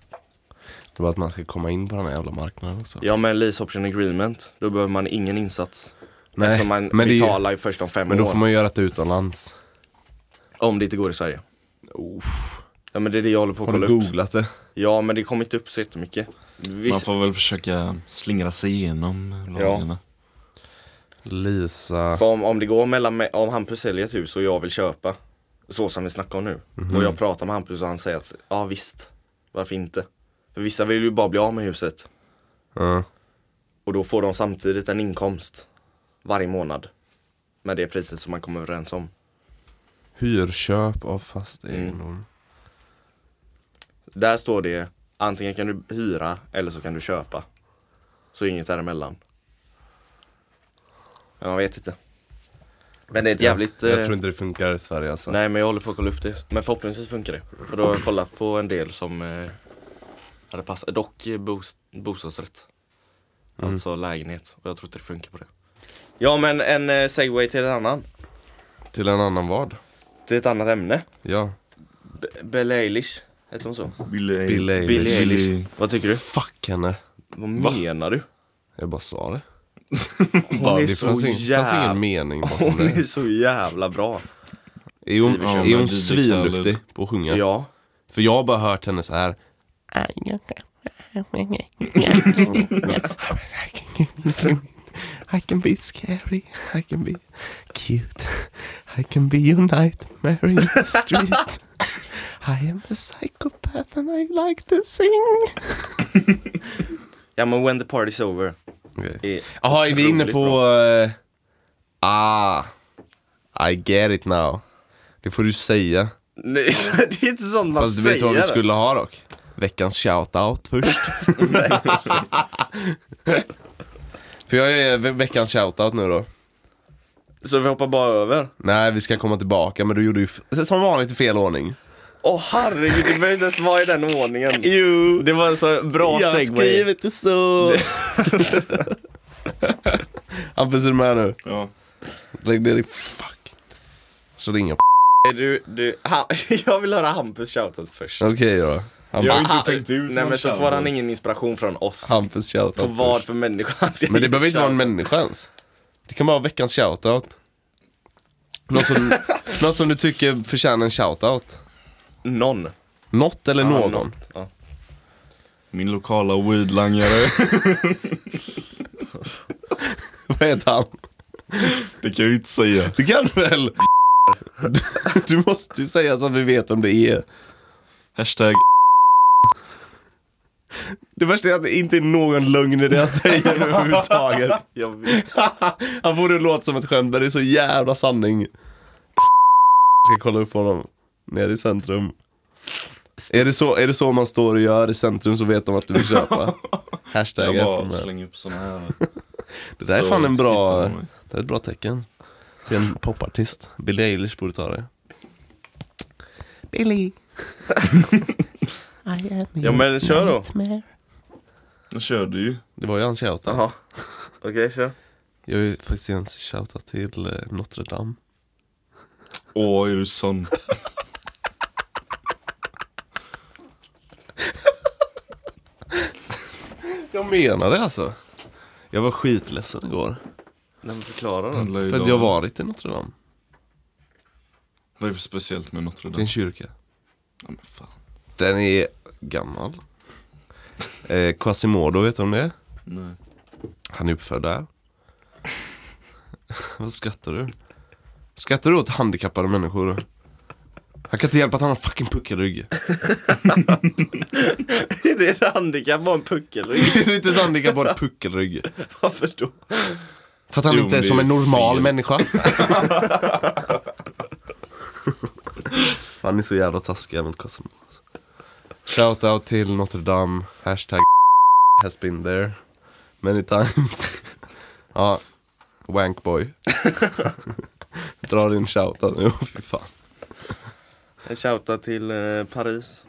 Speaker 1: Det är bara att man ska komma in på den här jävla marknaden också.
Speaker 2: Ja men lease option agreement, då behöver man ingen insats.
Speaker 1: Nej,
Speaker 2: eftersom man
Speaker 1: men det är-
Speaker 2: betalar ju först om fem
Speaker 1: Men då
Speaker 2: år.
Speaker 1: får man ju göra det utomlands.
Speaker 2: Om det inte går i Sverige. Ja men det är det jag håller på att
Speaker 1: Har du
Speaker 2: kolla upp.
Speaker 1: googlat det?
Speaker 2: Ja men det kommer inte upp så jättemycket.
Speaker 3: Man
Speaker 2: Visst,
Speaker 3: får väl försöka slingra sig igenom lagarna.
Speaker 1: Lisa...
Speaker 2: för om, om det går mellan mig, om Hampus säljer ett hus och jag vill köpa. Så som vi snackar om nu. Och jag pratar med Hampus och han säger att ja visst, varför inte? För vissa vill ju bara bli av med huset.
Speaker 1: Ja.
Speaker 2: Och då får de samtidigt en inkomst varje månad. Med det priset som man kommer överens om.
Speaker 1: Hyrköp av fast egendom.
Speaker 2: Mm. Där står det antingen kan du hyra eller så kan du köpa. Så inget däremellan. Men man vet inte. Men det är ett jävligt...
Speaker 1: jag,
Speaker 2: eh,
Speaker 1: jag tror inte det funkar i Sverige alltså.
Speaker 2: Nej men jag håller på att kolla upp det. Men förhoppningsvis funkar det. För då har jag kollat på en del som eh, hade passat. Dock eh, bost- bostadsrätt.
Speaker 1: Mm.
Speaker 2: Alltså lägenhet. Och jag tror inte det funkar på det. Ja men en eh, segway till en annan.
Speaker 1: Till en annan vad?
Speaker 2: Till ett annat ämne.
Speaker 1: Ja.
Speaker 2: B- Belle Eilish, heter hon så?
Speaker 3: Billy,
Speaker 1: Billie Eilish.
Speaker 2: Billie Eilish. Vad tycker du?
Speaker 1: Fuck henne.
Speaker 2: Vad menar du?
Speaker 1: Jag bara sa det. Bara,
Speaker 2: är
Speaker 1: det
Speaker 2: så
Speaker 1: fanns, ing- fanns
Speaker 2: jäv-
Speaker 1: ingen mening bakom
Speaker 2: Hon är
Speaker 1: det.
Speaker 2: så jävla bra.
Speaker 1: Är hon,
Speaker 3: Ja,
Speaker 1: är
Speaker 3: men
Speaker 1: hon
Speaker 3: DJ
Speaker 1: svinduktig
Speaker 3: Khaled.
Speaker 1: på att
Speaker 2: Ja.
Speaker 1: sjunga? För jag har bara hört henne så här. I can be scary, I can be cute, I can be your nightmare in the street. I am a psychopath and I like to sing.
Speaker 2: ja men When the party's over.
Speaker 1: Jaha,
Speaker 2: är
Speaker 1: är vi inne
Speaker 2: otroligt
Speaker 1: på...
Speaker 2: bra.
Speaker 1: eh, ah, I get it now. Det får du säga.
Speaker 2: Nej, det är inte sånt man
Speaker 1: Fast du
Speaker 2: säger.
Speaker 1: vet vad vi skulle ha dock? Veckans shoutout först. För jag är ve- veckans shoutout nu då.
Speaker 2: Så vi hoppar bara över.
Speaker 1: Nej, vi ska komma tillbaka men du gjorde ju f- som vanligt i fel ordning.
Speaker 2: Åh herregud, det behöver inte ens vara i den ordningen.
Speaker 1: Jo,
Speaker 2: Det var en så bra segway.
Speaker 1: inte så. Hampus, är du med nu?
Speaker 3: Ja.
Speaker 1: Lägg ner din fuck. Så ringer jag
Speaker 2: Är Du, du, ha, jag vill höra Hampus shoutout först.
Speaker 1: Okej då.
Speaker 3: Jag har
Speaker 1: Hampus,
Speaker 3: inte tänkt ut
Speaker 2: Nej
Speaker 3: någon
Speaker 2: men så får
Speaker 3: shoutout.
Speaker 2: han ingen inspiration från oss.
Speaker 1: Hampus shoutout.
Speaker 2: På vad
Speaker 1: först.
Speaker 2: för människa han ska
Speaker 1: Men det
Speaker 2: ge
Speaker 1: behöver inte vara en
Speaker 2: shout-
Speaker 1: människans. Det kan vara veckans shoutout. Någon som, någon som du tycker förtjänar en shoutout.
Speaker 2: Någon.
Speaker 1: Något eller
Speaker 2: Ja,
Speaker 1: någon.
Speaker 2: något. Ja.
Speaker 3: Min lokala weedlangare.
Speaker 1: Vad heter han?
Speaker 3: det kan jag ju inte säga.
Speaker 1: Du kan väl? Du- Du måste ju säga så att vi vet om det är.
Speaker 3: Hashtag
Speaker 1: Det värsta är att det inte är någon lögn i det han säger nu överhuvudtaget.
Speaker 2: Jag vet.
Speaker 1: Han borde låta som ett skämt, men det är så jävla sanning. Jag ska kolla upp honom. Nere i centrum. Är det, så, är det så man står och gör i centrum så vet de att du vill köpa? Hashtag
Speaker 3: Jag bara
Speaker 1: FML.
Speaker 3: slänger upp såna här.
Speaker 1: Det där är
Speaker 3: Så
Speaker 1: fan en bra,
Speaker 3: hittar de mig.
Speaker 1: det är ett bra tecken till en popartist. Billie Eilish borde ta det. Billie!
Speaker 2: Ja men kör då.
Speaker 3: Nu kör du ju.
Speaker 1: Det var ju hans shoutout.
Speaker 2: Jaha. Okej, kör.
Speaker 1: Jag vill faktiskt ge en shoutout till eh, Notre Dame.
Speaker 3: Åh, är du sån?
Speaker 1: Jag menar det alltså. Jag var skitledsen igår.
Speaker 2: Nej men förklara då.
Speaker 3: Handlar ju
Speaker 1: För att
Speaker 3: om-
Speaker 1: jag varit i Notre Dame.
Speaker 3: Vad är det för speciellt med Notre
Speaker 1: Det är en
Speaker 3: Dame?
Speaker 1: kyrka.
Speaker 3: Ja, men fan.
Speaker 1: Den är gammal. Eh, Quasimodo, vet du om det är?
Speaker 3: Nej.
Speaker 1: Han är uppförd där. Vad skrattar du? Skrattar du åt handikappade människor? Han kan inte hjälpa att han har fucking puckelrygg.
Speaker 2: Är det ett handikapp? Bara en puckelrygg?
Speaker 1: Det är inte ett handikapp, bara puckelrygg.
Speaker 2: Varför då?
Speaker 1: För att han
Speaker 3: Jo,
Speaker 1: inte är
Speaker 3: det är
Speaker 1: som en
Speaker 3: ju
Speaker 1: normal
Speaker 3: fel.
Speaker 1: människa. han är så jävla taskig även Cosmo. Shoutout alltså. till Notre Dame. Hashtag has been there many times. ja, wankboy. Dra din shoutout nu. Fy fan.
Speaker 2: En shoutout till eh, Paris.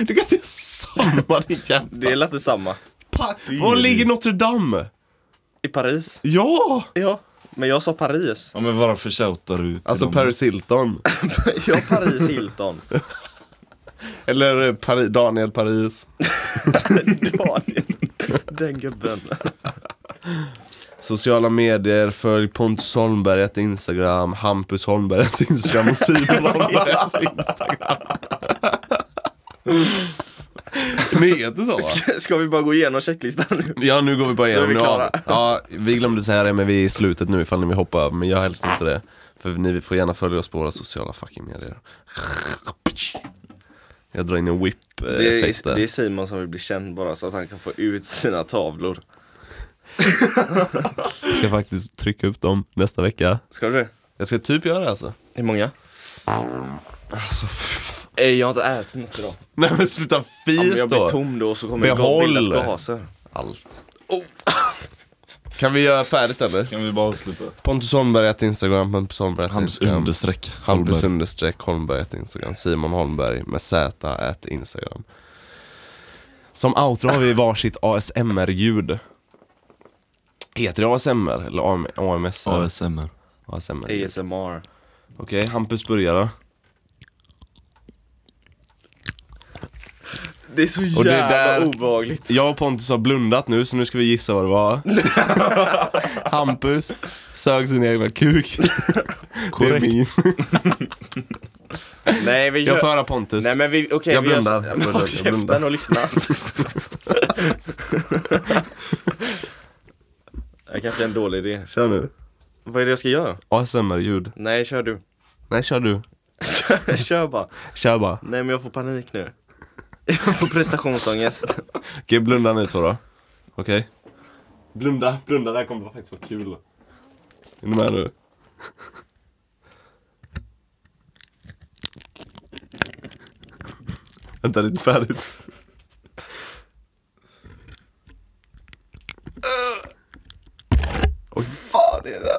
Speaker 1: Du kan inte samma din jävla...
Speaker 2: Det är lite samma.
Speaker 1: Var ligger Notre Dame?
Speaker 2: I Paris?
Speaker 1: Ja!
Speaker 2: Ja. Men jag sa Paris.
Speaker 3: Ja men varför shoutar du till
Speaker 1: Alltså
Speaker 3: dem?
Speaker 1: Paris Hilton.
Speaker 2: Jag Paris Hilton.
Speaker 1: Eller eh, Pari- Daniel Paris.
Speaker 2: Daniel. Den gubben.
Speaker 1: Sociala medier, följ Pontus Holmberg ett Instagram, Hampus Holmberg ett Instagram och Simon Holmberg ett Instagram. Ni heter så va?
Speaker 2: Ska vi bara gå igenom checklistan nu?
Speaker 1: Ja nu går vi bara
Speaker 2: Så är
Speaker 1: igenom.
Speaker 2: vi
Speaker 1: nu
Speaker 2: klara.
Speaker 1: av- Ja, vi glömde säga det men vi är i slutet nu ifall ni vill hoppa över men jag helst inte det. För ni får gärna följa oss på våra sociala fucking medier. Jag drar in en
Speaker 2: Det
Speaker 1: whip-effekt
Speaker 2: är, det är
Speaker 1: där.
Speaker 2: Simon som vill bli känd bara så att han kan få ut sina tavlor.
Speaker 1: Jag ska faktiskt trycka upp dem nästa vecka.
Speaker 2: Ska du det?
Speaker 1: Jag ska typ göra det alltså.
Speaker 2: Hur många?
Speaker 1: Alltså
Speaker 2: Eh, Jag har inte ätit något idag.
Speaker 1: Nej men sluta
Speaker 2: Ja, men
Speaker 1: fis
Speaker 2: jag blir
Speaker 1: då!
Speaker 2: tom då så kommer jag
Speaker 1: Behåll.
Speaker 2: bildas gaser.
Speaker 1: Allt. Oh. Kan vi göra färdigt eller?
Speaker 3: Kan vi bara avsluta?
Speaker 1: Pontus Holmberg ett Instagram, Pontus Holmberg ett
Speaker 3: Hampus
Speaker 1: Instagram.
Speaker 3: understreck
Speaker 1: Hampus
Speaker 3: Holmberg.
Speaker 1: understreck Holmberg ett Instagram. Simon Holmberg med Z ett Instagram. Som outro har vi varsitt ASMR-ljud. Heter det ASMR eller AM- AMSR?
Speaker 3: ASMR.
Speaker 1: ASMR. Okej,
Speaker 2: ASMR.
Speaker 1: Hampus börjar då.
Speaker 2: Det är så jävla
Speaker 1: Och det är där-
Speaker 2: obehagligt.
Speaker 1: Jag och Pontus har blundat nu, så nu ska vi gissa vad det var. Hampus sög sin egna kuk.
Speaker 3: Korrekt.
Speaker 1: Det är min.
Speaker 2: Nej, vi
Speaker 1: Jag får
Speaker 2: gör...
Speaker 1: höra Pontus.
Speaker 2: Nej men vi, okej
Speaker 1: Jag
Speaker 2: vi gör-
Speaker 1: blundar. Jag blundar,
Speaker 2: Håll
Speaker 1: jag blundar.
Speaker 2: käften och lyssna. Det kanske är en dålig idé.
Speaker 1: Kör nu.
Speaker 2: Vad är det jag ska göra?
Speaker 1: ASMR-ljud.
Speaker 2: Nej, kör du.
Speaker 1: Nej, kör du.
Speaker 2: kör bara.
Speaker 1: Kör bara.
Speaker 2: Nej men jag får panik nu. Jag får prestationsångest.
Speaker 1: Okej, blunda nu två då. Okej? Blunda, blunda. Det här kommer faktiskt vara kul. Är ni med nu? Vänta, det är inte färdigt.
Speaker 2: Fan är det?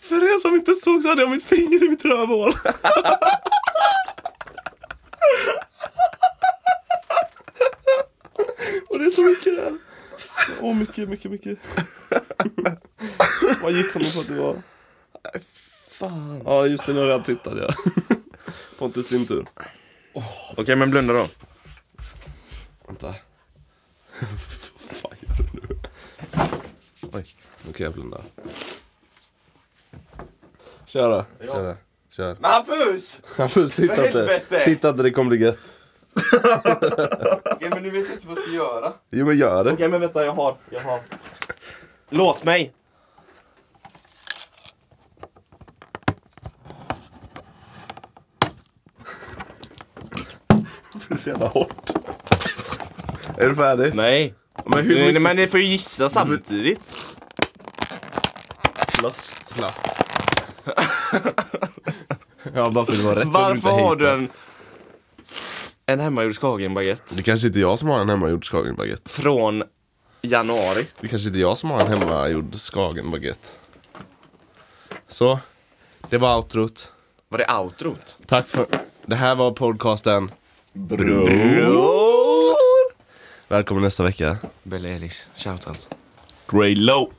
Speaker 1: För er som inte såg så hade jag mitt finger i mitt rövhål. Och det är så mycket där. Åh, mycket, mycket, mycket. Vad gissar man på att det var? Fan. Ja, just det. Nu har jag redan tittat, ja. Pontus, din tur.
Speaker 2: Okej men blunda då.
Speaker 1: Vänta. Vad fan gör du nu? Oj, nu kan jag blunda. Kör då. Kör. då. Kör.
Speaker 2: Hampus!
Speaker 1: Hampus, titta inte.
Speaker 2: helvete!
Speaker 1: Titta inte, det kommer bli gött.
Speaker 2: Okej men nu vet jag inte vad jag ska göra. Okej
Speaker 1: Jo men gör det.
Speaker 2: men vänta jag har, jag har. Låt mig!
Speaker 1: Det är så jävla hårt. Är du färdig?
Speaker 2: Nej.
Speaker 1: Men hur mycket...
Speaker 2: men ni får ju gissa samtidigt.
Speaker 1: plast. Plast. ja, bara för att det var rätt. behöver inte
Speaker 2: Varför har
Speaker 1: hejta.
Speaker 2: du en... En hemmagjord skagenbaguette
Speaker 1: Det kanske inte är jag som har en hemmagjord skagenbaguette.
Speaker 2: från januari.
Speaker 1: Det kanske inte är jag som har en hemmagjord skagenbaguette. Så. Det var outrot.
Speaker 2: Var det outrot?
Speaker 1: Tack för... Det här var podcasten.
Speaker 2: Bror!
Speaker 1: Välkommen nästa vecka.
Speaker 2: Billie Eilish, shoutout.
Speaker 3: Grey Low.